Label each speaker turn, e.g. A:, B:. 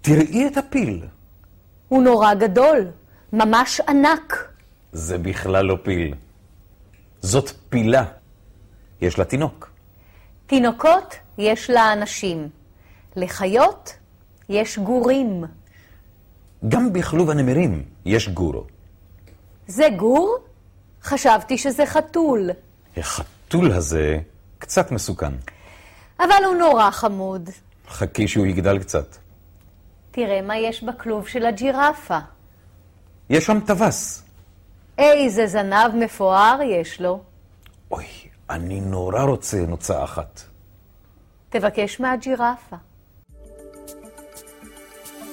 A: תראי את הפיל.
B: הוא נורא גדול, ממש ענק.
A: זה בכלל לא פיל. זאת פילה. יש לה תינוק.
B: תינוקות יש לאנשים, לחיות יש גורים.
A: גם בכלוב הנמרים יש גורו.
B: זה גור? חשבתי שזה חתול,
A: החתול הזה קצת מסוכן.
B: אבל הוא נורא חמוד.
A: חכי שהוא יגדל קצת.
B: תראה מה יש בכלוב של הג'ירפה.
A: יש שם טווס.
B: איזה זנב מפואר יש לו.
A: אוי, אני נורא רוצה נוצה אחת.
B: תבקש מהג'ירפה.